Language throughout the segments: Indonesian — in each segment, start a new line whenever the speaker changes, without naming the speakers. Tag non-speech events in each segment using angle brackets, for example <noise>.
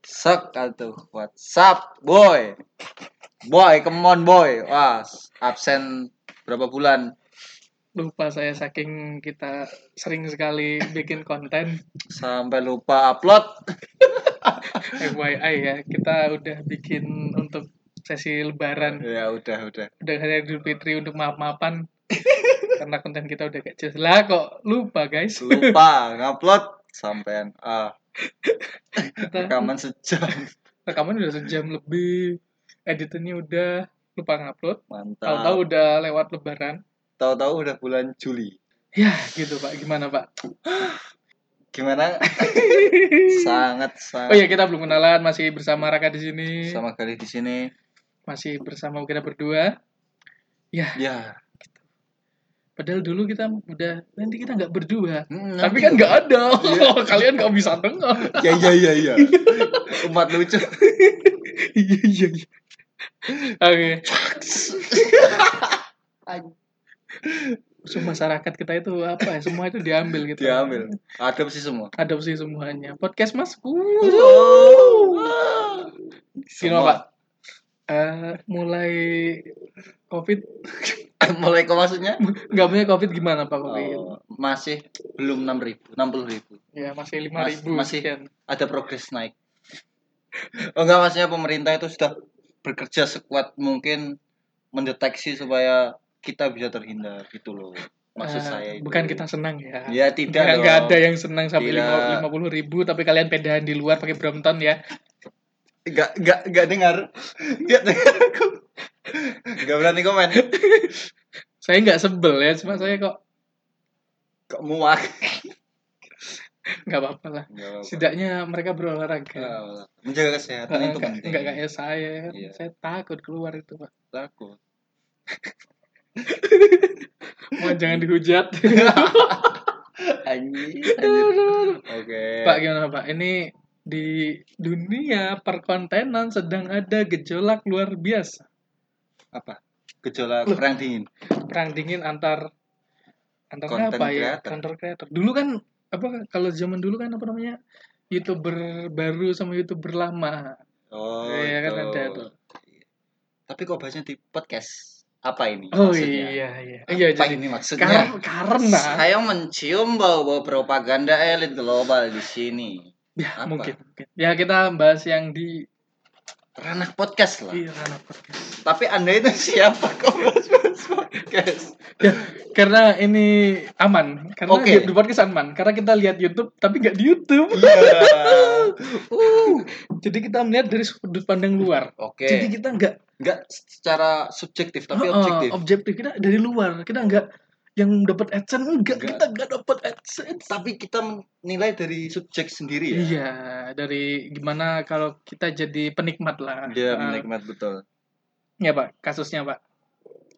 bakal tuh WhatsApp boy boy come on boy wah absen berapa bulan
lupa saya saking kita sering sekali bikin konten <laughs>
sampai lupa upload
FYI ya kita udah bikin untuk sesi lebaran
ya udah udah
udah hari Idul Fitri untuk maaf-maafan karena konten kita udah gak jelas lah kok lupa guys
lupa ngupload sampean ah
kita
rekaman sejam
rekaman udah sejam lebih editannya udah lupa ngupload
Nah.
tahu-tahu
mantap
udah lewat lebaran
tahu-tahu udah bulan Juli
ya gitu pak gimana pak <laughs>
gimana sangat
oh
sangat
iya kita belum kenalan masih bersama Raka di sini
sama kali di sini
masih bersama kita berdua ya
ya
padahal dulu kita udah nanti kita nggak berdua
Mm, nanti-
tapi kan nggak ada
Iya.
<laughs> kalian nggak bisa dengar
ya ya ya ya umat lucu
iya iya iya oke So, masyarakat kita itu apa ya semua itu diambil gitu
diambil adopsi semua
adopsi semuanya podcast masku Gimana
Oh. Semua. <clears throat>
pak Eh, mulai covid
mulai ke maksudnya
nggak punya covid gimana pak covid
Oh, masih belum enam ribu enam puluh ribu
ya masih lima
Mas-
ribu
masih.
sekian.
ada progres
<laughs>
naik oh enggak maksudnya pemerintah itu sudah bekerja sekuat mungkin mendeteksi supaya kita bisa terhindar gitu loh maksud
Eh,
saya itu
bukan kita senang ya
ya tidak
Nggak-
dong.
nggak ada yang senang sampai
Tidak.
lima puluh ribu tapi kalian pedahan di luar pakai Brompton ya
nggak nggak nggak dengar nggak dengar aku nggak berani komen
saya nggak sebel ya cuma
Hmm.
saya kok
kok muak
nggak apa-apa lah
Nggak apa-apa.
setidaknya mereka
Nggak
berolahraga
apa-apa. menjaga kesehatan Nah, kan itu
enggak
penting
enggak kayak saya kan
Iya.
saya takut keluar itu pak
takut
Mohon jangan dihujat
<laughs> Iya. anjir anjir.
Aduh.
oke
<laughs> pak gimana pak ini di dunia perkontenan sedang ada gejolak luar biasa
apa gejolak perang dingin
perang dingin antar antar
Content
apa ya
creator.
Content creator dulu kan apa kalau zaman dulu kan apa namanya youtuber baru sama youtuber lama
oh
Iya, kan
itu.
ada tuh.
tapi kok bahasnya di podcast apa ini
oh
maksudnya
iya iya iya
apa
jadi
ini maksudnya
kar-
<laughs>
karena
saya mencium bau-bau propaganda elit global di sini Apa?
ya mungkin mungkin. ya kita bahas yang di
ranah podcast lah
di ranah podcast
tapi anda itu siapa kok bahas bahas podcast
ya karena ini aman karena
Oke.
di, di podcast aman karena kita lihat YouTube tapi nggak di YouTube
Iya.
Uh, jadi kita melihat dari sudut pandang luar
Oke.
jadi kita nggak
Nggak secara subjektif tapi
Heeh,
objektif.
objektif kita dari luar kita nggak yang dapat adsense enggak,
Nggak.
kita nggak dapat adsense
tapi kita menilai dari subjek sendiri ya.
iya dari gimana kalau kita jadi penikmat lah
Dia
Nah,
menikmat betul.
ya pak kasusnya pak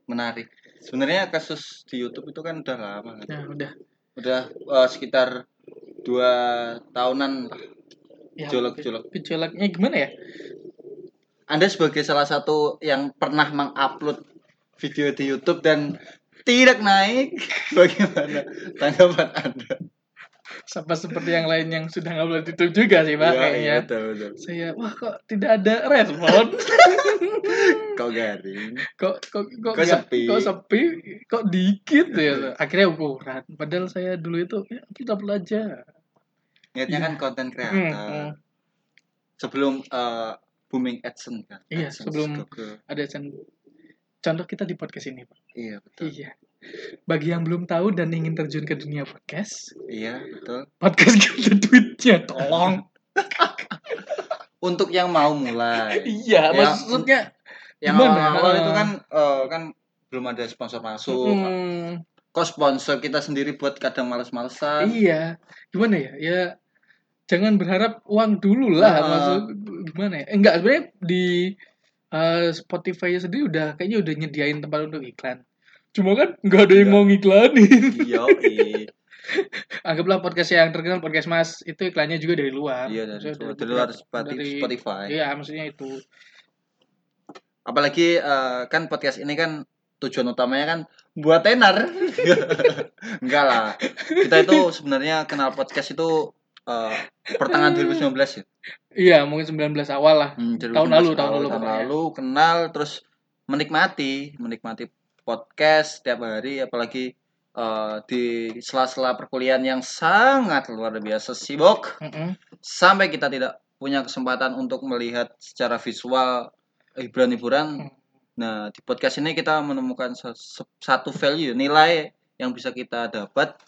Menarik. Sebenarnya kasus di YouTube itu kan udah lama kan.
nah udah
Udah eh, sekitar dua tahunan.
ya,
Gejolak-
mungkin.
gejolak.
gejolaknya gimana ya
Anda sebagai salah satu yang pernah mengupload video di YouTube dan tidak naik, <laughs> bagaimana tanggapan Anda?
sama seperti yang lain yang sudah ngupload YouTube juga sih pak
Iya,
kayaknya
iya, betul, betul.
saya wah kok tidak ada respon
Kok garing?
kok kok kok,
Kok
nggak-
sepi?
kok sepi kok dikit ya akhirnya ukuran padahal saya dulu itu ya, kita belajar
Niatnya
Iya.
kan konten kreator.
Hmm, hmm.
sebelum eh, booming AdSense kan.
Iya,
AdSense
sebelum-
Google.
ada sen- contoh kita di podcast ini pak
Iya, betul.
iya bagi yang belum tahu dan ingin terjun ke dunia podcast
Iya, betul.
podcast <laughs> kita duitnya tolong
<laughs> Untuk yang mau mulai.
iya
Ya,
maksudnya
yang
Gimana?
awal itu kan eh, kan belum ada sponsor masuk.
hmm,
Kok sponsor kita sendiri buat kadang males-malesan.
iya gimana ya ya jangan berharap uang dulu lah
Heeh.
maksud gimana ya Eh, enggak sebenarnya di eh, Spotify sendiri udah kayaknya udah nyediain tempat untuk iklan cuma kan nggak ada yang
Nggak.
mau ngiklanin <laughs>
Iya,
anggaplah podcast yang terkenal podcast mas itu iklannya juga dari luar
iya dari
Maksudnya
itu. Dari
beberapa-
luar Spotify.
dari-
Spotify.
iya maksudnya itu
Apalagi eh, kan podcast ini kan tujuan utamanya kan buat <laughs> tenar. Enggak lah. Kita itu sebenarnya kenal podcast itu eh,
Hmm.
pertengahan 2019 ya.
Iya, mungkin 19 awal lah.
Hmm,
Tahun lalu, tahun lalu
tahun
pokoknya. ya.
lalu kenal terus menikmati, menikmati podcast tiap hari apalagi eh, di sela-sela perkuliahan yang sangat luar biasa sibuk
Mm-mm.
sampai kita tidak punya kesempatan untuk melihat secara visual hiburan-hiburan.
Hmm.
Nah, di podcast ini kita menemukan sa- se- satu value, nilai yang bisa kita dapat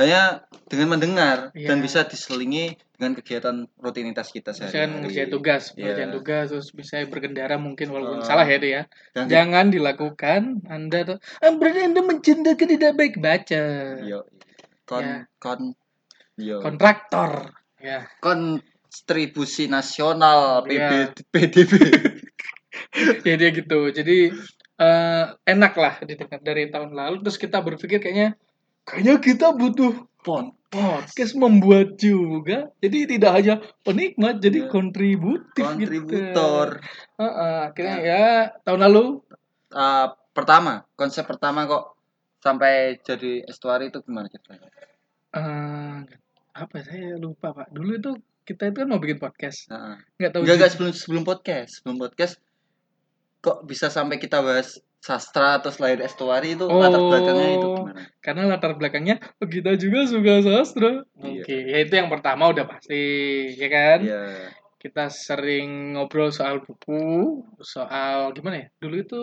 hanya dengan mendengar dan
Iya.
bisa diselingi dengan kegiatan rutinitas kita
Misalkan
sehari-hari.
ngerjain tugas,
Iya.
ngerjain tugas terus bisa berkendara mungkin
Eh,
walaupun salah ya itu ya.
Dan
Jangan dilakukan. Anda tuh "Ah, berarti Anda mencendakan tidak baik baca.
yo Iya. kon
Ya.
kon
Iya.
yo
Kontraktor. Ya.
kontribusi nasional
Iya.
PB, PDB.
ya dia gitu jadi eh, enak lah didengar dari tahun lalu terus kita berpikir kayaknya kayaknya kita butuh
Pon.
podcast membuat juga jadi tidak hanya penikmat jadi
Ya.
kontributif
kontributor.
gitu. Heeh, akhirnya ya tahun lalu
Eh, pertama, konsep pertama kok sampai jadi estuary itu gimana ceritanya?
eh, apa saya lupa pak dulu itu kita itu kan mau bikin podcast
Heeh.
nggak tahu
Enggak,
juga.
enggak sebelum sebelum podcast, sebelum podcast kok bisa sampai kita bahas sastra terus lahir estuary itu latar
Oh.
belakangnya itu gimana?
karena latar belakangnya oh, kita juga suka sastra
Iya.
oke ya itu yang pertama udah pasti ya kan
Iya.
kita sering ngobrol soal buku, soal gimana ya? Dulu itu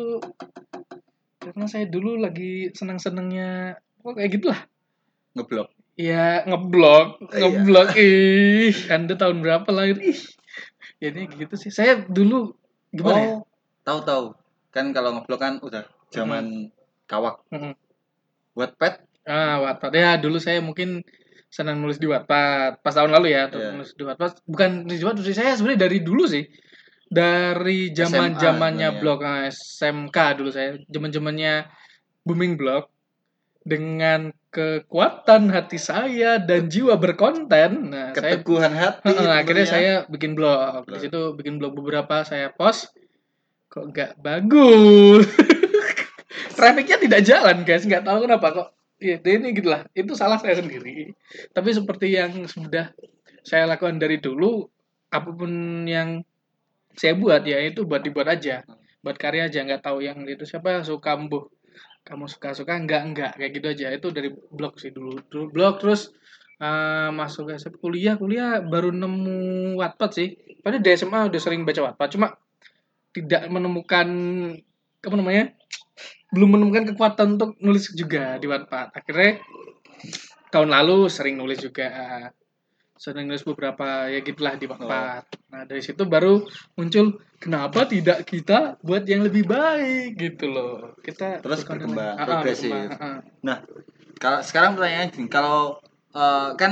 karena saya dulu lagi senang-senangnya kok kayak gitulah.
Ngeblok.
Ya ngeblok,
Iya.
ngeblok ih. Anda tahun berapa lahir? Ih. Jadi gitu sih. Saya dulu gimana ya? Mm-hmm.
oh, tahu-tahu. Kan kalau ngeblok kan udah zaman kawak.
Mm-mm.
Wattpad
Ah, Wattpad. Ya dulu saya mungkin senang nulis di Wattpad. Pas tahun lalu ya, tuh,
Iya.
nulis di Wattpad. Bukan nulis di Wattpad sih. Saya sebenarnya dari dulu sih. Dari
SMA
zaman-zamannya
sebenarnya.
blog eh, SMK dulu saya, zaman-zamannya booming blog dengan kekuatan hati saya dan jiwa berkonten. Nah, saya
keteguhan hati ya.
Heeh, akhirnya
tentunya.
saya bikin blog. Di
Blog.
situ bikin blog beberapa saya post kok nggak bagus. <laughs> Trafficnya tidak jalan guys, nggak tahu kenapa kok. Ya, ini gitulah. Itu salah saya sendiri. Tapi seperti yang sudah saya lakukan dari dulu, apapun yang saya buat ya itu buat dibuat aja, buat karya aja. Nggak tahu yang itu siapa suka mbuh. Kamu suka suka nggak nggak kayak gitu aja. Itu dari blog sih dulu. Dulu blog terus eh, masuk ke kuliah kuliah baru nemu Wattpad sih. Padahal di SMA udah sering baca Wattpad, cuma tidak menemukan apa namanya belum menemukan kekuatan untuk nulis juga di Wattpad akhirnya tahun lalu sering nulis juga sering nulis beberapa ya gitulah di Wattpad nah dari situ baru muncul kenapa tidak kita buat yang lebih baik gitu loh kita
Terus
berkonten-
berkembang,
Ah, ah,
progresif.
berkembang, ah, ah.
Nah, kalau sekarang pertanyaannya gini, kalau eh, kan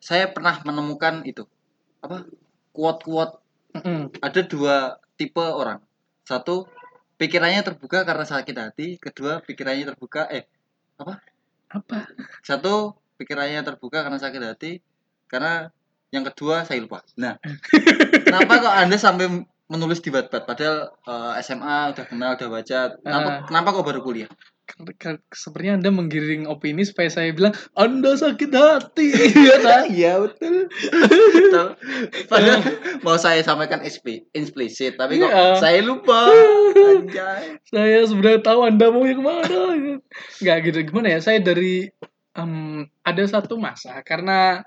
saya pernah menemukan itu apa quote-quote
Mm-mm.
ada dua tipe orang. Satu pikirannya terbuka karena sakit hati, kedua pikirannya terbuka eh apa?
apa
Satu pikirannya terbuka karena sakit hati, karena yang kedua saya lupa.
<laughs>
Nah, kenapa kok Anda sampai menulis di Wattpad padahal eh, SMA udah kenal, udah baca. Kenapa,
Ah.
kenapa kok baru kuliah?
Ker- ker- sepertinya anda menggiring opini supaya saya bilang anda sakit hati ya kan?
<laughs> Iya betul. betul. Gitu. Padahal mau saya sampaikan expli- implisit, tapi kok
Iya.
saya lupa. Anjay.
<laughs> saya sebenarnya tahu anda mau yang mana nggak gitu gimana ya saya dari em, ada satu masa karena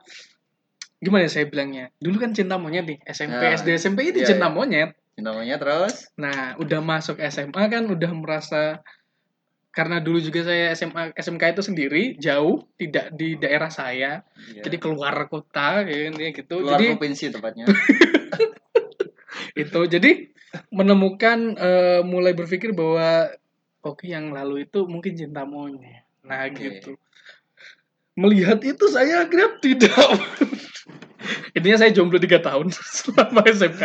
gimana ya saya bilangnya dulu kan cinta monyet nih SMP
Ya.
SD SMP itu
Iya,
cinta
iya.
monyet
Namanya terus
nah udah masuk SMA kan udah merasa karena dulu juga saya SMA SMK itu sendiri jauh tidak di daerah saya
Iya.
jadi keluar kota ya, kan, ya gitu
luar
jadi
provinsi tepatnya.
itu jadi menemukan eh, mulai berpikir bahwa oke yang lalu itu mungkin cinta monyet nah
Oke.
gitu melihat itu saya akhirnya tidak <laughs> intinya saya jomblo tiga tahun <laughs> selama SMK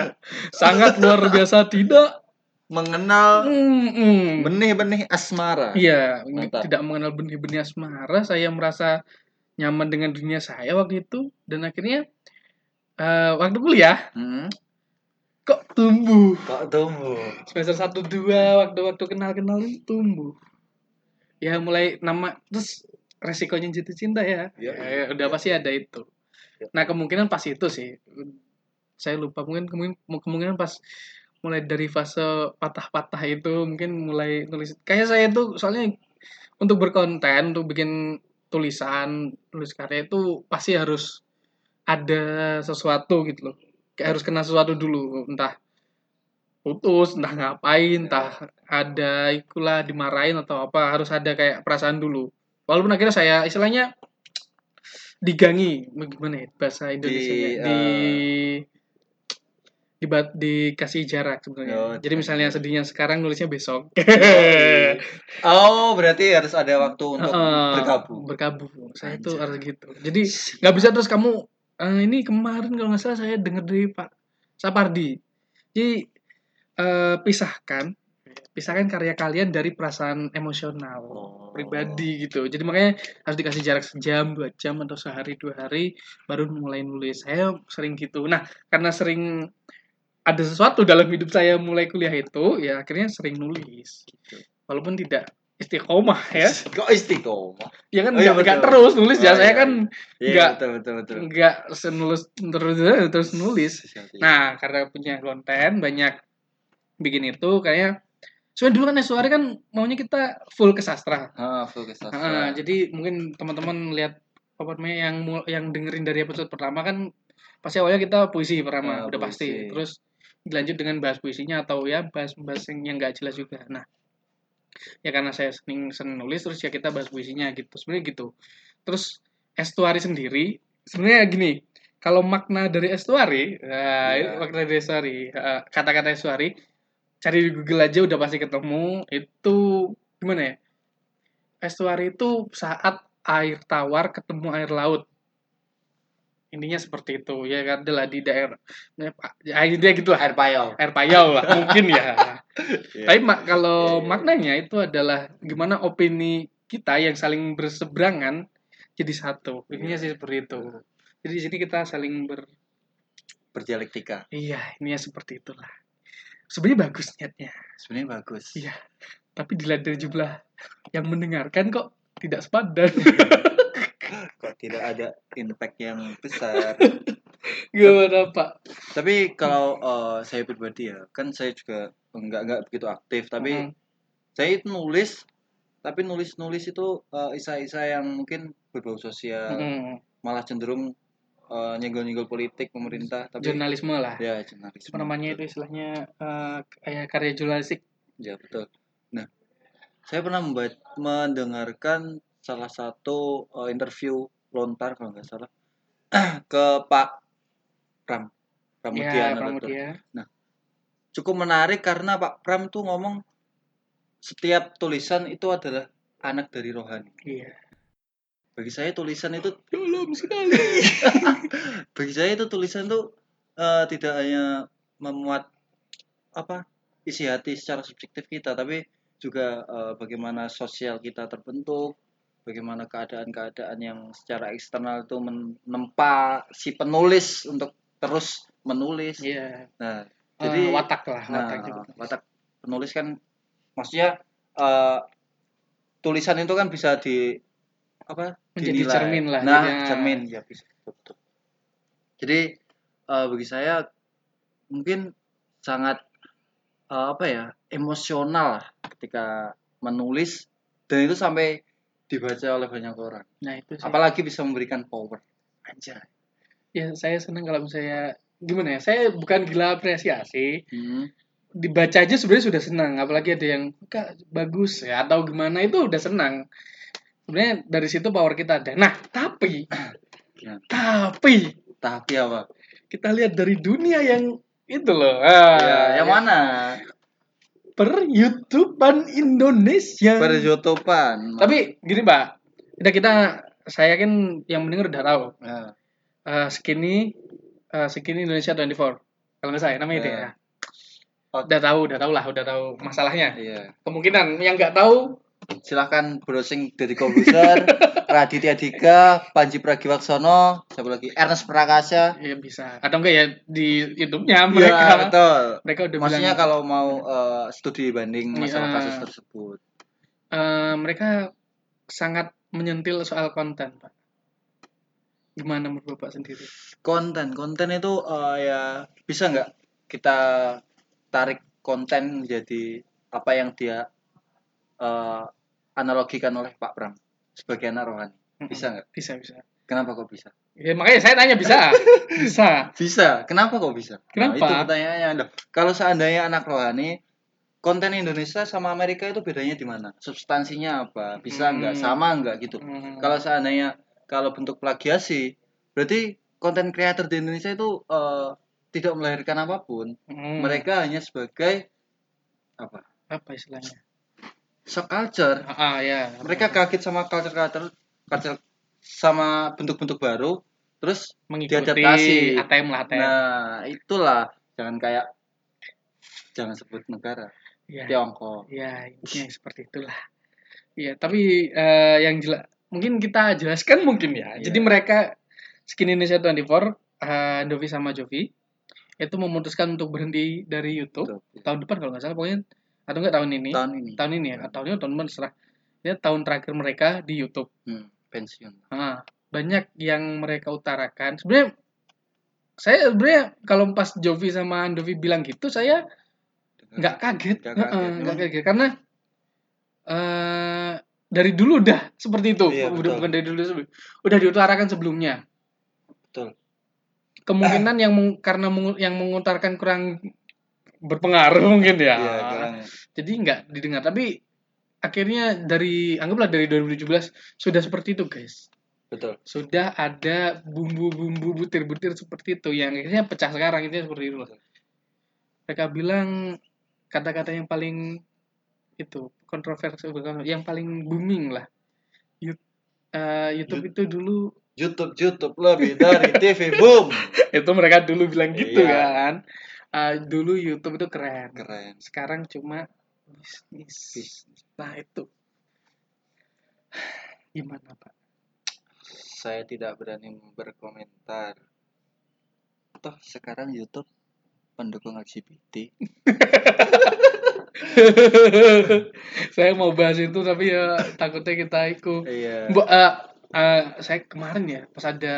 sangat luar biasa tidak Hmm,
Mengenal
Mm-mm.
benih-benih asmara.
iya
Mantap.
tidak mengenal benih-benih asmara saya merasa nyaman dengan dunia saya waktu itu dan akhirnya eh, waktu kuliah
Hmm.
kok tumbuh
Kok tumbuh?
semester satu dua waktu waktu kenal kenal itu tumbuh ya mulai nama terus resikonya jatuh cinta ya,
Iya,
Ya, udah pasti ada itu Nah kemungkinan pas itu sih, saya lupa mungkin kemungkinan, kemungkinan pas mulai dari fase patah-patah itu mungkin mulai nulis. Kayaknya saya itu soalnya untuk berkonten, untuk bikin tulisan, tulis karya itu pasti harus ada sesuatu gitu loh. Kayak harus kena sesuatu dulu, entah putus, entah
Ya.
ngapain, entah ada ikulah dimarahin atau apa, harus ada kayak perasaan dulu. Walaupun akhirnya saya istilahnya digangi, gimana ya bahasa Indonesia di,
eh,
di dibat dikasih jarak sebenarnya.
Oh,
Jadi
dikasih
misalnya
jarak.
sedihnya sekarang nulisnya besok.
eh.
<laughs>
Oh, berarti harus ada waktu untuk
Heeh,
berkabung.
berkabung. Saya tuh
Anjay.
harus gitu. Jadi nggak bisa terus kamu eh, ini kemarin kalau nggak salah saya dengar dari Pak Sapardi. Jadi eh, pisahkan pisahkan karya kalian dari perasaan emosional
Oh.
pribadi gitu. Jadi makanya harus dikasih jarak sejam, dua jam atau sehari dua hari baru mulai nulis. Saya sering gitu. Nah karena sering ada sesuatu dalam hidup saya mulai kuliah itu, ya akhirnya sering nulis.
Gitu.
Walaupun tidak istiqomah ya,
Kok istiqomah?
ya kan
Oh, iya,
nggak nggak
betul.
terus nulis
Oh,
ya. Saya
iya,
kan
Iya,
Nggak.
betul betul betul.
nggak senulis terus terus nulis.
Sesuatu.
Nah, karena punya konten banyak bikin itu kayaknya Soalnya dulu kan Estuari kan maunya kita full ke sastra.
Ah, fokus
Ah,
sastra.
jadi mungkin teman-teman lihat apa namanya yang mul- yang dengerin dari episode pertama kan pasti awalnya kita puisi pertama
Ah,
udah pasti.
puisi.
Terus dilanjut dengan bahas puisinya atau ya bahas bahas yang yang nggak jelas juga. Nah, ya karena saya sering seneng nulis terus ya kita bahas puisinya gitu. Sebenarnya gitu. Terus estuari sendiri sebenarnya gini kalau makna dari estuari nah,
Iya.
makna dari estuari eh, kata-kata estuari cari di Google aja udah pasti ketemu itu gimana ya estuari itu saat air tawar ketemu air laut intinya seperti itu ya kan adalah di daerah ya, dia gitu lah
Air payau.
air payau lah mungkin
<laughs>
ya
Iya.
tapi mak-
Iya,
kalau
iya.
maknanya itu adalah gimana opini kita yang saling berseberangan jadi satu. Intinya
Iya.
sih seperti itu. Jadi di sini kita saling ber
Berdialektika.
iya, ini seperti itulah. Sebenarnya bagus niatnya,
Sebenarnya bagus.
Iya. tapi dilihat dari jumlah yang mendengarkan kok tidak sepadan.
Kok tidak ada impact yang besar.
<laughs>
<laughs>
Gimana, Pak?
tapi kalau eh, saya pribadi ya, kan saya juga nggak nggak begitu aktif, tapi
Mm.
saya itu nulis tapi nulis nulis itu eh, isa-isa yang mungkin berbau sosial
Mm.
malah cenderung eh, nyenggol-nyenggol politik pemerintah tapi
jurnalisme lah.
ya jurnalis
Apa namanya itu istilahnya eh, kayak karya jurnalistik.
ya betul nah saya pernah memba- mendengarkan salah satu eh, interview lontar kalau nggak salah <clears throat> ke Pak Pram Pramudia
Ya,
Nadatul.
Pramudia.
cukup menarik karena Pak Pram tuh ngomong setiap tulisan itu adalah anak dari rohani
Iya.
bagi saya tulisan itu
Dalam sekali.
bagi saya itu tulisan tuh eh, tidak hanya memuat apa isi hati secara subjektif kita tapi juga eh, bagaimana sosial kita terbentuk bagaimana keadaan-keadaan yang secara eksternal itu menempa si penulis untuk terus menulis
<laughs> Iya.
nah jadi
Jadi watak lah,
nah,
watak juga.
watak penulis kan maksudnya eh, tulisan itu kan bisa di apa
Menjadi
dinilai.
cermin lah,
nah
jadi-
cermin ya bisa betul. jadi eh, bagi saya mungkin sangat eh, apa ya emosional lah ketika menulis dan itu sampai dibaca oleh banyak orang
Nah, itu sih.
apalagi bisa memberikan power aja
ya saya senang kalau misalnya gimana ya saya bukan gila apresiasi
hmm.
dibaca aja sebenarnya sudah senang apalagi ada yang kak bagus ya atau gimana itu udah senang sebenarnya dari situ power kita ada nah tapi
Ya.
tapi
tapi apa
kita lihat dari dunia yang itu loh ah,
ya, yang mana
per YouTubean Indonesia
perjutopan
tapi gini pak kita kita saya yakin yang mendengar udah tahu
Nah,
Eh, skinny eh, skinny Indonesia 24 kalau nggak salah namanya itu
Ya.
ya
Oh.
udah tahu udah tahu lah udah tahu masalahnya
iya
kemungkinan yang nggak tahu
silahkan browsing dari <laughs> komputer Raditya Dika Panji Pragiwaksono siapa lagi Ernest Prakasa
ya bisa atau enggak ya di YouTube-nya mereka
Iya betul
mereka udah
maksudnya
bilang
kalau mau eh, studi banding masalah
Iya.
kasus tersebut
eh, mereka sangat menyentil soal konten pak Gimana menurut Bapak sendiri?
konten konten itu eh, ya bisa nggak kita tarik konten menjadi apa yang dia eh, analogikan oleh Pak Pram sebagai anak rohani bisa nggak
Bisa, bisa.
kenapa kok bisa
Ya, makanya saya nanya
<laughs>
bisa. bisa.
bisa kenapa kok bisa nah,
Kenapa?
itu pertanyaannya Loh, kalau seandainya anak rohani konten Indonesia sama Amerika itu bedanya di mana substansinya apa bisa nggak
Hmm.
sama nggak gitu
Hmm.
kalau seandainya kalau bentuk plagiasi berarti konten creator di Indonesia itu eh, tidak melahirkan apapun
Hmm.
mereka hanya sebagai apa
apa istilahnya?
shock culture
Ah, ah, ya.
mereka kaget sama culture culture culture sama bentuk-bentuk baru terus
mengikuti
diadaptasi.
ATM lah ATM.
nah itulah jangan kayak jangan sebut negara
ya.
Tiongkok
Ya, intinya seperti itulah. Iya, tapi eh, yang jelas mungkin kita jelaskan mungkin ya.
Iya.
Jadi mereka Skin Indonesia 24, eh, Dovi sama Jovi itu memutuskan untuk berhenti dari YouTube
Betul.
tahun depan kalau nggak salah pokoknya atau enggak tahun ini.
tahun Iya. ini
Tahun ini ya, tahun ini atau tahun depan serah. Ya, tahun terakhir mereka di YouTube.
Hmm, pensiun
Ah, banyak yang mereka utarakan. Sebenarnya saya sebenarnya kalau pas Jovi sama Dovi bilang gitu, saya nggak kan? kaget
Nggak
Heeh,
kaget.
nggak kaget, karena eh dari dulu udah seperti itu
Iya, betul.
udah bukan dari dulu sebelum udah diutarakan sebelumnya
betul
kemungkinan yang meng- karena mengu- yang mengutarakan kurang berpengaruh <laughs> mungkin ya
Iya, kurang-
jadi nggak didengar tapi akhirnya dari anggaplah dari 2017 sudah seperti itu guys
betul
sudah ada bumbu-bumbu butir-butir seperti itu yang akhirnya pecah sekarang itu seperti itu loh. Mereka bilang kata-kata yang paling itu kontroversi bukan, yang paling booming lah. Yu- eh, YouTube itu dulu
YouTube YouTube lebih dari TV boom
<laughs> itu mereka dulu bilang gitu
Iya.
kan. Eh, dulu YouTube itu keren.
keren
Sekarang cuma bisnis. Nah itu <sighs> gimana pak?
saya tidak berani berkomentar toh sekarang YouTube pendukung LGBT
<laughs> Saya mau bahas itu tapi ya takutnya kita ikut
iya
Bu, eh, eh, saya kemarin ya pas ada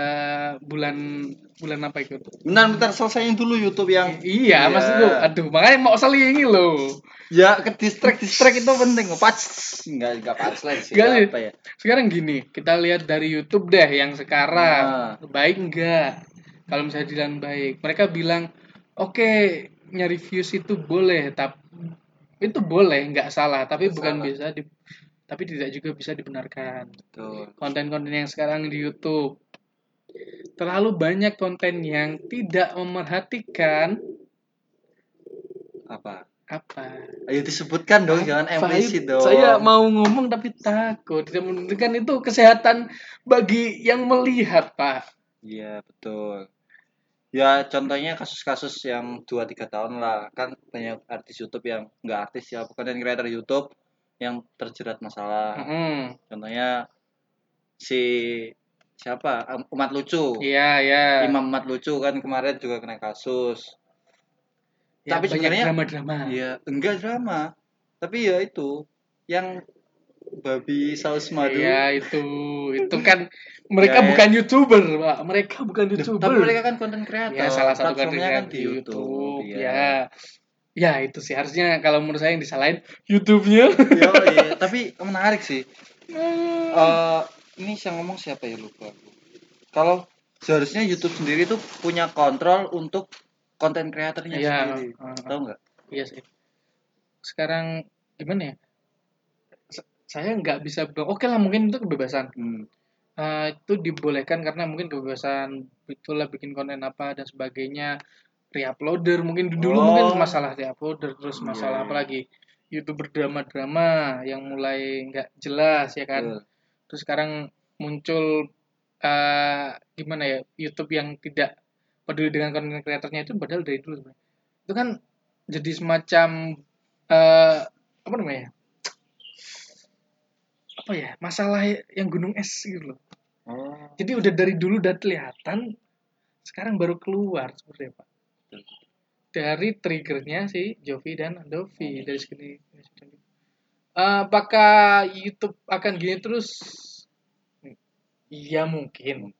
bulan bulan apa itu?
bentar bentar selesaiin dulu YouTube yang Iya.
Iya, maksudku. Aduh, makanya mau selingi loh.
ya ke distract distract itu penting pas nggak nggak pas lain sih
Nggak sih.
apa ya
Sekarang gini, kita lihat dari YouTube deh yang sekarang
Nah.
baik enggak? Kalau misalnya dibilang baik, mereka bilang oke nyari views itu boleh, tapi itu boleh nggak salah, tapi
Nggak
bukan
salah.
bisa di, tapi tidak juga bisa dibenarkan. Iya.
tuh
konten-konten yang sekarang di YouTube. Terlalu banyak konten yang tidak memerhatikan
apa
apa.
ayo disebutkan dong jangan
Apa
implisit
itu?
dong
Saya mau ngomong tapi takut. Tidak mementingkan itu kesehatan bagi yang melihat, Pak.
iya betul ya contohnya kasus-kasus yang 2-3 tahun lah kan banyak artis YouTube yang nggak artis ya konten creator YouTube yang terjerat masalah
Hmm. Mm-mm.
contohnya si siapa Um- umat lucu
Iya, iya.
imam umat lucu kan kemarin juga kena kasus
Ya,
tapi
banyak
sebenarnya-
drama-drama.
Iya, enggak drama tapi ya itu yang babi saus madu
Iya, itu. Itu kan mereka
Ya, ya.
bukan YouTuber, Pak. Mereka bukan YouTuber.
tapi mereka kan konten creator
ya salah satu
platformnya
kategori
kan di YouTube, iya.
ya ya itu sih harusnya kalau menurut saya yang disalahin YouTube-nya
<laughs> Iya, iya. tapi menarik sih Eh, ini yang ngomong siapa ya lupa aku. kalau seharusnya YouTube sendiri tuh punya kontrol untuk konten kreatornya
Iya,
sendiri
heeh.
tahu nggak
iya sih sekarang gimana ya S- saya nggak bisa bilang oke lah mungkin itu kebebasan
hmm.
Eh, itu dibolehkan karena mungkin kebebasan itulah bikin konten apa dan sebagainya reuploader mungkin dulu
Oh.
mungkin masalah reuploader terus
Iya,
masalah
iya.
apa lagi youtuber drama-drama yang mulai nggak jelas ya kan
Betul.
terus sekarang muncul eh gimana ya YouTube yang tidak peduli dengan konten kreatornya itu padahal dari dulu sebenarnya. itu kan jadi semacam eh apa namanya apa ya masalah yang gunung es gitu loh
Oh,
jadi udah dari dulu udah kelihatan sekarang baru keluar seperti apa dari triggernya si Jovi dan Dovi dari Eh, sini apakah YouTube akan gini terus Iya mungkin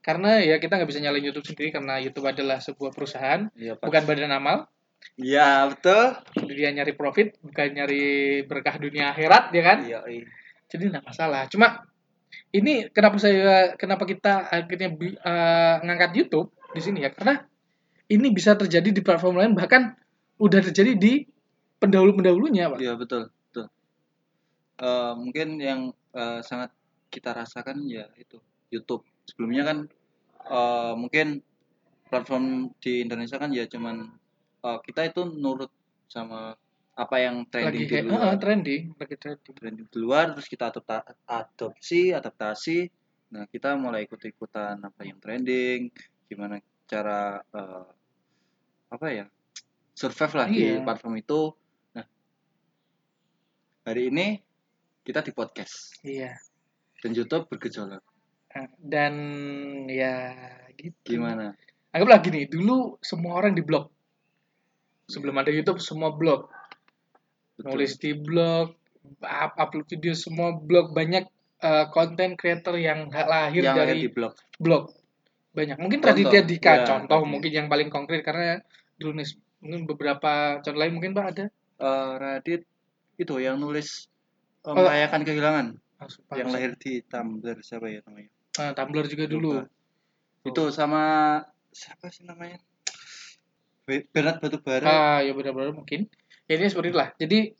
Karena ya kita nggak bisa nyalain YouTube sendiri karena YouTube adalah sebuah perusahaan,
Iya, Pak.
bukan badan amal.
Iya, betul.
Dia nyari profit, bukan nyari berkah dunia akhirat, ya kan?
Iya, iya.
Jadi nggak masalah. Cuma ini kenapa saya kenapa kita akhirnya bi- eh, ngangkat YouTube di sini ya? Karena ini bisa terjadi di platform lain bahkan udah terjadi di pendahulu-pendahulunya, Pak.
Iya, betul, betul. Eh, mungkin yang eh, sangat kita rasakan ya itu YouTube. Sebelumnya kan eh, mungkin platform di Indonesia kan ya cuman eh, kita itu nurut sama apa yang trending
Lagi
di
he-
luar.
eh, trending, lagi trending.
branding di luar terus kita adopta- adopsi adaptasi nah kita mulai ikut ikutan apa yang trending gimana cara eh, apa ya survive lah
Iya.
di platform itu nah hari ini kita di podcast
Iya.
dan YouTube bergejolak
Eh, Dan ya gitu.
gimana
anggaplah gini dulu semua orang di blog sebelum ada YouTube semua blog
Iya. Betul.
nulis di blog up- upload video semua blog banyak eh, konten creator yang nggak lahir
yang ada
dari
di blog
blog banyak mungkin
Contoh,
Raditya Dika
ya,
contoh
Raditya.
mungkin yang paling konkret karena dulu nih mungkin beberapa contoh lain mungkin pak ada
Eh, Radit itu yang nulis eh,
Oh.
merayakan kehilangan
Ah, sumpah,
yang
saya-
lahir di Tumblr siapa ya namanya
Ah, Tumblr juga dulu Oh.
Lupa. itu sama siapa sih namanya Be- Bernard Batubara
ah ya benar-benar mungkin ya, ini seperti itulah jadi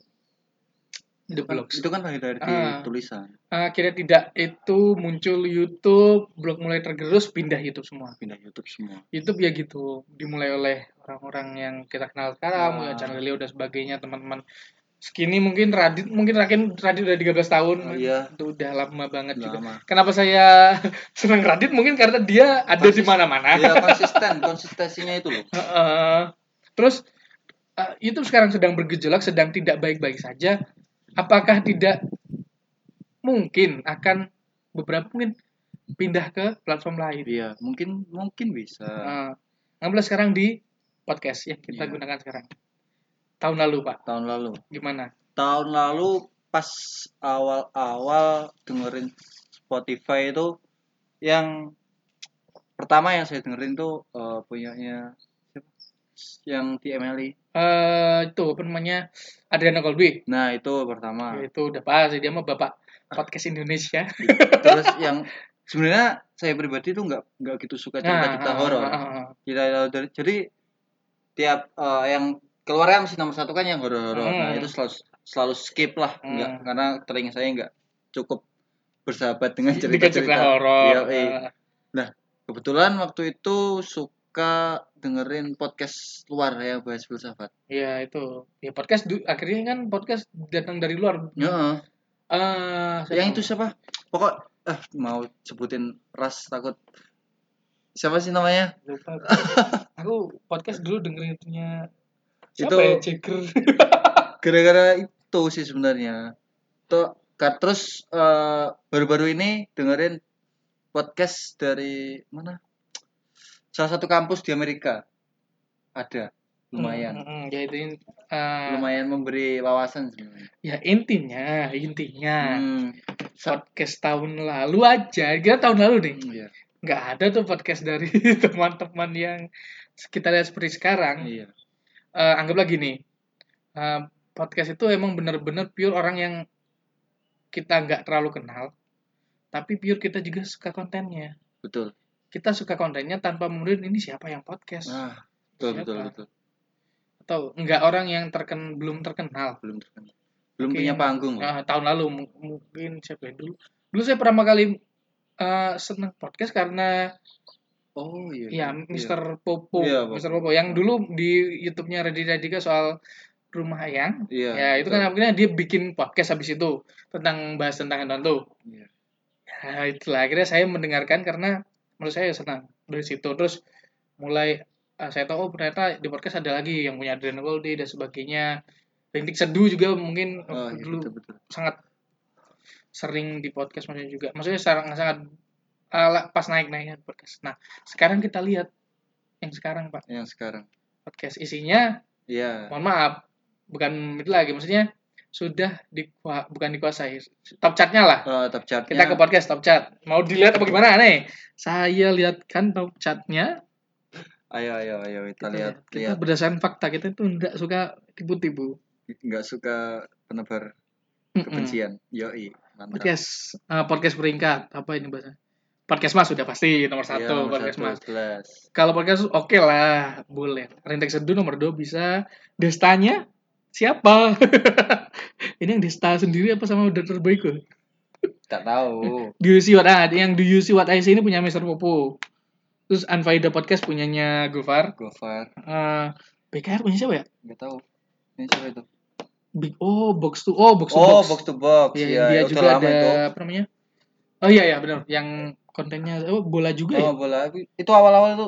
the
Kan-
blogs
itu kan lahir dari
Ah.
tulisan
akhirnya tidak itu muncul YouTube blog mulai tergerus pindah YouTube semua
pindah YouTube
<laughs>
semua
YouTube ya gitu dimulai oleh orang-orang yang kita kenal sekarang
Wah.
ya channel Leo dan sebagainya teman-teman skinny mungin Radit mungkin Radit Radit udah 13 tahun
Oh, iya.
itu udah lama banget juga
Lama.
kenapa saya <laughs> seneng Radit mungkin karena dia ada di
Konsis-
mana-mana
ya konsisten konsistensinya itu loh
<laughs> Heeh. terus eh, YouTube sekarang sedang bergejolak sedang tidak baik-baik saja apakah tidak mungkin akan beberapa mungkin pindah ke platform lain
iya mungkin mungkin bisa
Nah, 16 sekarang di podcast yang
Iya.
kita gunakan sekarang. Tahun lalu, Pak.
tahun lalu
Gimana?
tahun lalu pas awal-awal dengerin Spotify itu yang pertama yang saya dengerin tuh eh, punyanya siapa? yang di MLI
Eh, itu apa namanya? Adriana Colby.
nah itu pertama
Ya, itu udah pasti dia mah Bapak podcast
<laughs>
Indonesia.
terus yang sebenarnya saya pribadi tuh nggak nggak gitu suka cerita cerita
ah,
horor
ah, ah, ah.
cerita horor jadi tiap eh, yang keluar yang nomor satu kan yang horor horor nah
Hmm.
itu selalu selalu skip lah
Hmm.
nggak karena telinga saya nggak cukup bersahabat dengan cerita
Dengan cerita
cerita
horor.
Iya,
Ah,
kebetulan waktu itu suka dengerin podcast luar ya bahas filsafat
Ya, itu. Ya podcast du- akhirnya kan podcast datang dari luar.
Heeh.
Ah, siapa?
yang Ya, itu siapa pokok eh, mau sebutin ras takut siapa sih namanya
Lupa. Aku podcast dulu dengerin itunya siapa
Itu-
ya? Jagger.
gara-gara itu sih sebenarnya tuh ka- terus eh, baru-baru ini dengerin podcast dari mana salah satu kampus di Amerika ada lumayan
Hmm, ya itu ah,
lumayan memberi wawasan sebenarnya
ya intinya intinya
hmm,
podcast tahun lalu aja kita tahun lalu nih
iya
nggak ada tuh podcast dari <laughs> teman-teman yang kita lihat seperti sekarang
iya
Eh, anggaplah gini eh, podcast itu emang bener-bener pure orang yang kita nggak terlalu kenal tapi pure kita juga suka kontennya
betul
kita suka kontennya tanpa menurut ini siapa yang podcast
ah betul
Siapa?
betul betul
atau nggak orang yang terken belum terkenal
belum terkenal belum
Mungkin,
punya panggung loh.
Nah, tahun lalu mu- mungkin siapa ya dulu. Dulu saya pertama kali eh, seneng podcast karena
oh iya
ya
iya.
Mr. Popo,
Iya, Popo.
Mr. Popo yang dulu di YouTube-nya Raditya Dika soal rumah ayang.
Iya,
ya itu kan akhirnya dia bikin podcast habis itu tentang bahas tentang hewan tuh.
Iya.
Ya, itulah akhirnya saya mendengarkan karena menurut saya senang dari situ. Terus mulai eh, saya tahu oh, ternyata di podcast ada lagi yang punya Adrian Goldie dan sebagainya. Rintik Seduh juga mungkin
oh, iya
waktu dulu
betul betul
sangat sering di podcast maksudnya juga maksudnya sangat sangat ala pas naik naiknya podcast nah sekarang kita lihat yang sekarang pak
yang sekarang
podcast isinya
iya
mohon maaf bukan itu lagi maksudnya sudah di bukan dikuasai top chartnya lah
Eh, top chartnya.
kita ke podcast top chart mau dilihat apa gimana nih saya lihatkan top chartnya
Ayo ayo ayo kita lihat
Gitu ya. kita
lihat.
berdasarkan fakta kita tuh nggak suka tipu-tipu
Nggak suka penebar
Hmm. Mm-mm.
kebencian. Yoi. Mantap.
podcast eh, podcast peringkat apa ini bahasa podcast mas sudah pasti nomor
Iya,
satu
nomor
podcast mas
satu, jelas.
kalau podcast oke lah boleh Rintek Seduh nomor dua bisa Destanya siapa <laughs> ini yang Desta sendiri apa sama udah terbaik loh
Nggak
<laughs>
tahu.
Do You See What I yang Do You See What I See ini punya Mr. Popo terus Unfaida Podcast punyanya Gofar
Gofar,
Eh, BKR punya siapa ya
nggak tahu. Ini siapa itu?
Big oh box to oh box to
oh,
box,
box to box.
Iya,
Iya,
dia
udah
juga
lama
ada
itu.
apa namanya oh iya iya benar yang kontennya oh, bola juga
Oh,
ya
bola. Itu awal-awal itu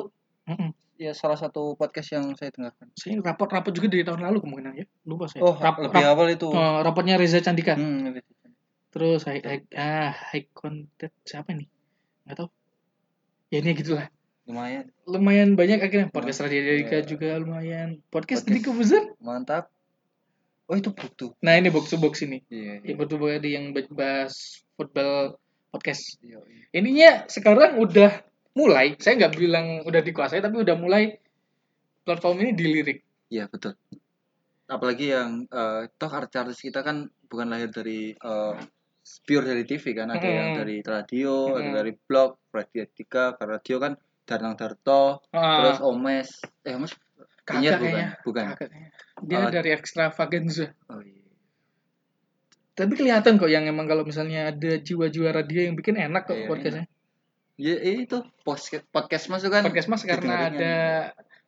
Mm-mm.
ya salah satu podcast yang saya dengarkan.
saya rapot-rapot juga dari tahun lalu kemungkinan ya lupa saya
Oh,
Rap-
lebih
rap-
awal itu.
eh, rapotnya Reza Candika
Hmm, lebih-
terus high, high, ah, high content siapa nih nggak tahu ya ini gitulah
lumayan.
lumayan banyak akhirnya podcast Radio Dika
Iya.
juga lumayan podcast
Podcast.
Deddy Kobuzer
Mantap. Oh, itu butuh.
nah ini box to box ini
Iya.
ya betul di yang bahas football podcast
iya, iya.
intinya sekarang udah mulai saya nggak bilang udah dikuasai tapi udah mulai platform ini dilirik
Iya, betul. Apalagi yang eh toh artis-artis kita kan bukan lahir dari eh, pure dari TV kan, ada yang
Mm.
dari radio, ada
Mm.
dari blog, Radio Etika, radio kan Danang Darto, terus
Ah,
Omes, eh Omes
kakak
Penyiar
kayaknya
bukan? Bukan.
kakak kayaknya. dia
Ah.
dari extravaganza
Oh iya.
tapi kelihatan kok yang emang kalau misalnya ada jiwa-jiwa radio yang bikin enak kok
Iya,
podcastnya
Ya, itu podcast podcast mas itu kan.
podcast mas karena
Didengerin
ada
kan.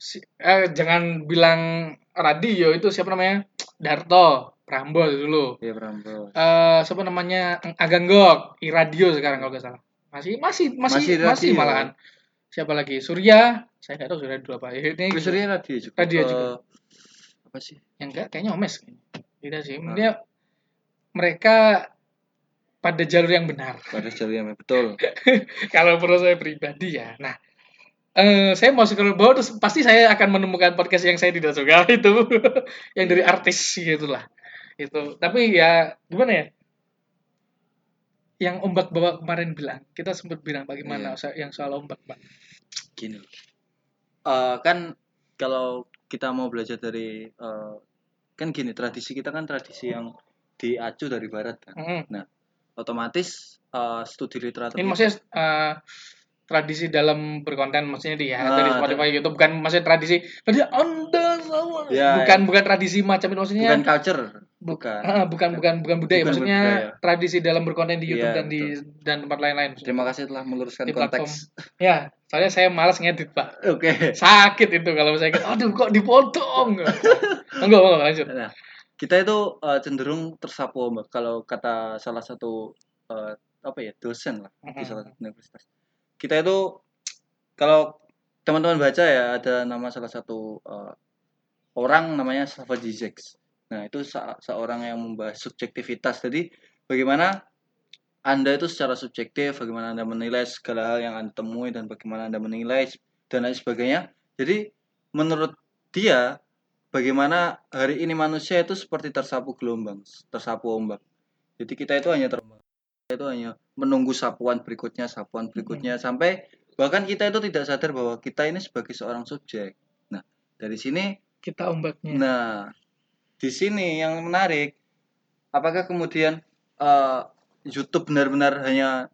si- eh, jangan bilang radio itu siapa namanya Darto Prambol dulu
Iya Prambors.
eh siapa namanya Aganggok Iradio sekarang kalau nggak salah masih masih
Masih
masih masih,
radio.
malahan siapa lagi Surya saya nggak tahu Surya dulu apa ini
Terus dia radio juga.
Radio
Eh,
juga.
Apa sih?
yang enggak kayaknya Omes tidak sih
Nah.
dia mereka pada jalur yang benar
Pada jalur yang betul.
kalau menurut saya pribadi ya nah eh saya mau scroll bawah terus pasti saya akan menemukan podcast yang saya tidak suka <laughs> itu
Iya.
yang dari artis gitulah itu tapi ya gimana ya yang ombak bawa kemarin bilang kita sempat bilang
Iya.
bagaimana so- yang soal ombak pak
Gini. Eh kan kalau kita mau belajar dari eh, kan gini tradisi kita kan tradisi yang diacu dari barat kan.
Mm.
Otomatis eh, studi literatur.
ini maksudnya eh, tradisi dalam berkonten maksudnya dia
Ah,
dari Spotify YouTube bukan maksudnya tradisi tadi anda sama
Ya,
bukan bukan tradisi macam itu maksudnya
bukan culture.
bu-
Bukan.
ah, bukan bukan bukan budaya
Bukan
maksudnya
budaya.
tradisi dalam berkonten di YouTube
Iya,
dan di dan tempat lain-lain
Terima kasih telah meluruskan
Di platform.
konteks.
ya soalnya saya malas ngedit pak
<laughs> Oke.
sakit itu kalau saya kayak, aduh kok
<laughs>
dipotong enggak enggak enggak, lanjut
Nah, kita itu eh, cenderung tersapu ombak kalau kata salah satu eh, apa ya dosen lah di
Mhm.
salah satu universitas. Kita itu kalau teman-teman baca ya ada nama salah satu eh, orang namanya Slavoj Žižek. Nah, itu se- seorang yang membahas subjektivitas. Jadi, bagaimana Anda itu secara subjektif, bagaimana Anda menilai segala hal yang Anda temui dan bagaimana Anda menilai dan lain sebagainya. Jadi, menurut dia bagaimana hari ini manusia itu seperti tersapu gelombang, tersapu ombak. Jadi kita itu hanya terombang, kita itu hanya menunggu sapuan berikutnya, sapuan berikutnya sampai bahkan kita itu tidak sadar bahwa kita ini sebagai seorang subjek. Nah, dari sini
kita ombaknya
Nah, di sini yang menarik, apakah kemudian eh, YouTube benar-benar hanya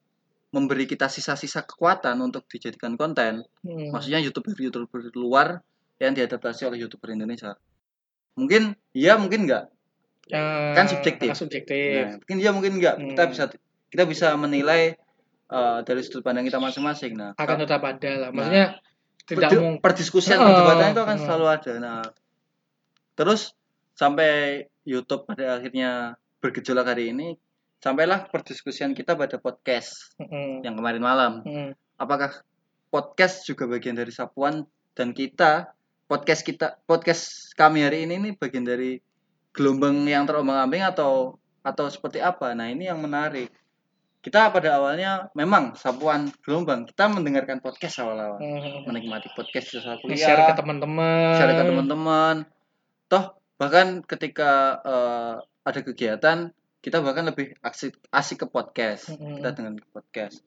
memberi kita sisa-sisa kekuatan untuk dijadikan konten?
Hmm.
Maksudnya YouTuber-YouTuber luar yang diadaptasi oleh YouTuber Indonesia. Mungkin iya, mungkin enggak.
Eh,
kan subjektif.
karena subjektif
Nah, mungkin iya, mungkin enggak. Kita
Hmm.
bisa kita bisa menilai eh, dari sudut pandang kita masing-masing. Nah,
akan tetap ada lah maksudnya tidak Hmm.
Perdu-
mau
perdiskusian
Heeh,
perdebatannya itu akan
heeh.
selalu ada. Nah, terus sampai YouTube pada akhirnya bergejolak hari ini, sampailah perdiskusian kita pada podcast
Mm-mm.
yang kemarin malam.
Mm-mm.
Apakah podcast juga bagian dari sapuan dan kita podcast kita podcast kami hari ini ini bagian dari gelombang yang terombang-ambing atau atau seperti apa? Nah, ini yang menarik. Kita pada awalnya memang sapuan gelombang. Kita mendengarkan podcast awal-awal
Mm.
menikmati podcast di saat kuliah,
share ke teman-teman
share ke teman-teman. Toh bahkan ketika eh, ada kegiatan kita bahkan lebih asik, asik ke podcast
Mm-mm.
kita dengan ke podcast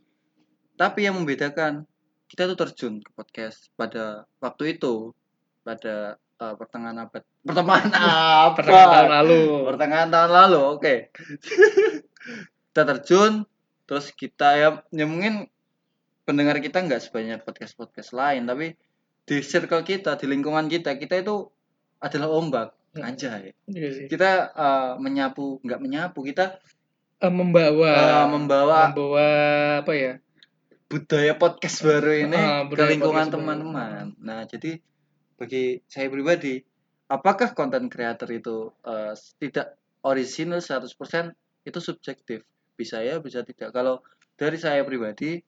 tapi yang membedakan kita tuh terjun ke podcast pada waktu itu pada eh, pertengahan abad pertengahan abad
pertengahan tahun lalu
pertengahan tahun lalu oke <laughs> kita terjun terus kita ya, ya mungkin pendengar kita nggak sebanyak podcast podcast lain tapi di circle kita di lingkungan kita kita itu adalah ombak
Mm.
anjay
Iya sih.
kita eh, menyapu nggak menyapu kita
Eh, membawa
eh, membawa
membawa apa ya
budaya podcast baru ini
Ah,
ke
budaya
lingkungan
podcast baru.
teman-teman nah jadi bagi saya pribadi apakah konten creator itu eh, tidak orisinal 100% itu subjektif bisa ya bisa tidak kalau dari saya pribadi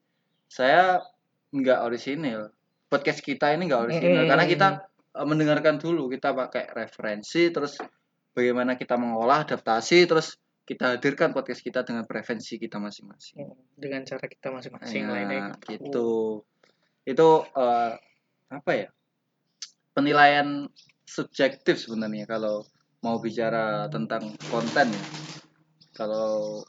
saya nggak orisinil podcast kita ini nggak orisinil
Mm-mm.
karena kita eh, mendengarkan dulu kita pakai referensi terus bagaimana kita mengolah adaptasi terus kita hadirkan podcast kita dengan preferensi kita masing-masing
dengan cara kita masing-masing
Ya,
lainnya
gitu. Itu eh, apa ya? Penilaian subjektif sebenarnya kalau mau bicara tentang konten ya. Kalau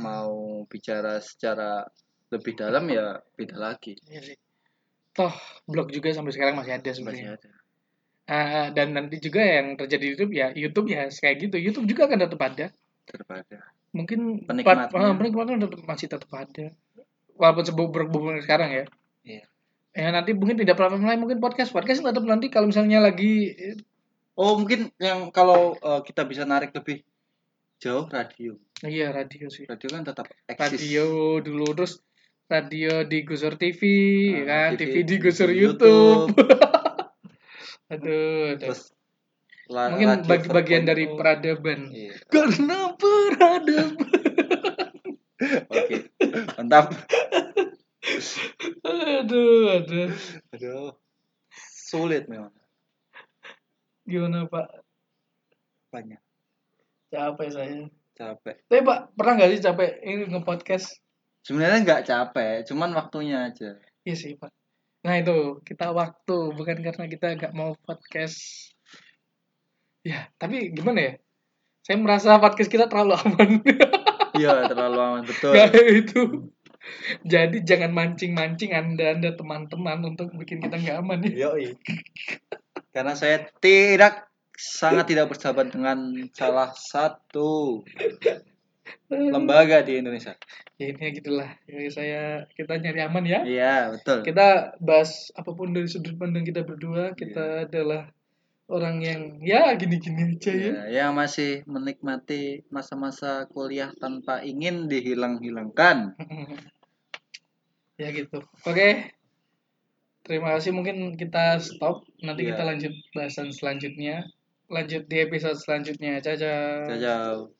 mau bicara secara lebih dalam ya beda lagi.
Iya sih. toh blog juga sampai sekarang masih ada
Masih
sebenarnya
ada.
Ah, dan nanti juga yang terjadi di YouTube ya YouTube ya kayak gitu YouTube juga akan tetap ada
Daripada
mungkin
Penikmatnya.
plat- ah, penikmatnya tetap- masih tetap ada walaupun sebelum berhubungan sekarang ya
Iya.
ya nanti mungkin tidak platform lain mungkin podcast podcast tetap nanti kalau misalnya lagi eh,
Oh, mungkin yang kalau eh, kita bisa narik lebih jauh radio.
iya radio sih
Radio kan tetap eksis.
radio dulu terus radio di Gusur TV ya
Eh,
kan TV, di Gusur
YouTube.
YouTube, aduh, aduh.
Terus la-
mungkin
radio
bagi bagian
4.0.
dari peradaban
Iya.
karena peradaban
Oke. Mantap.
aduh aduh
Aduh. Sulit memang
gimana pak
banyak
capek saya
capek.
tapi pak pernah nggak sih capek ini nge-podcast
Sebenarnya nggak capek, cuman waktunya aja.
Iya sih, Pak. Nah itu, kita waktu. Bukan karena kita nggak mau podcast. Ya, tapi gimana ya? Saya merasa podcast kita terlalu aman. <laughs>
Iya, terlalu aman betul.
Nggak ada itu. Jadi jangan mancing-mancing Anda-Anda teman-teman untuk bikin kita nggak aman ya.
Yoi. Karena saya tidak sangat tidak bersahabat dengan salah satu lembaga di Indonesia.
Ya intinya gitulah. Ya, saya kita nyari aman ya.
Iya, betul.
Kita bahas apapun dari sudut pandang kita berdua. Kita adalah orang yang ya gini-gini aja ya.
Iya, yang masih menikmati masa-masa kuliah tanpa ingin dihilang-hilangkan.
<laughs> ya gitu oke terima kasih mungkin kita stop nanti
Iya.
kita lanjut bahasan selanjutnya lanjut di episode selanjutnya ciao ciao
Jauh-jauh.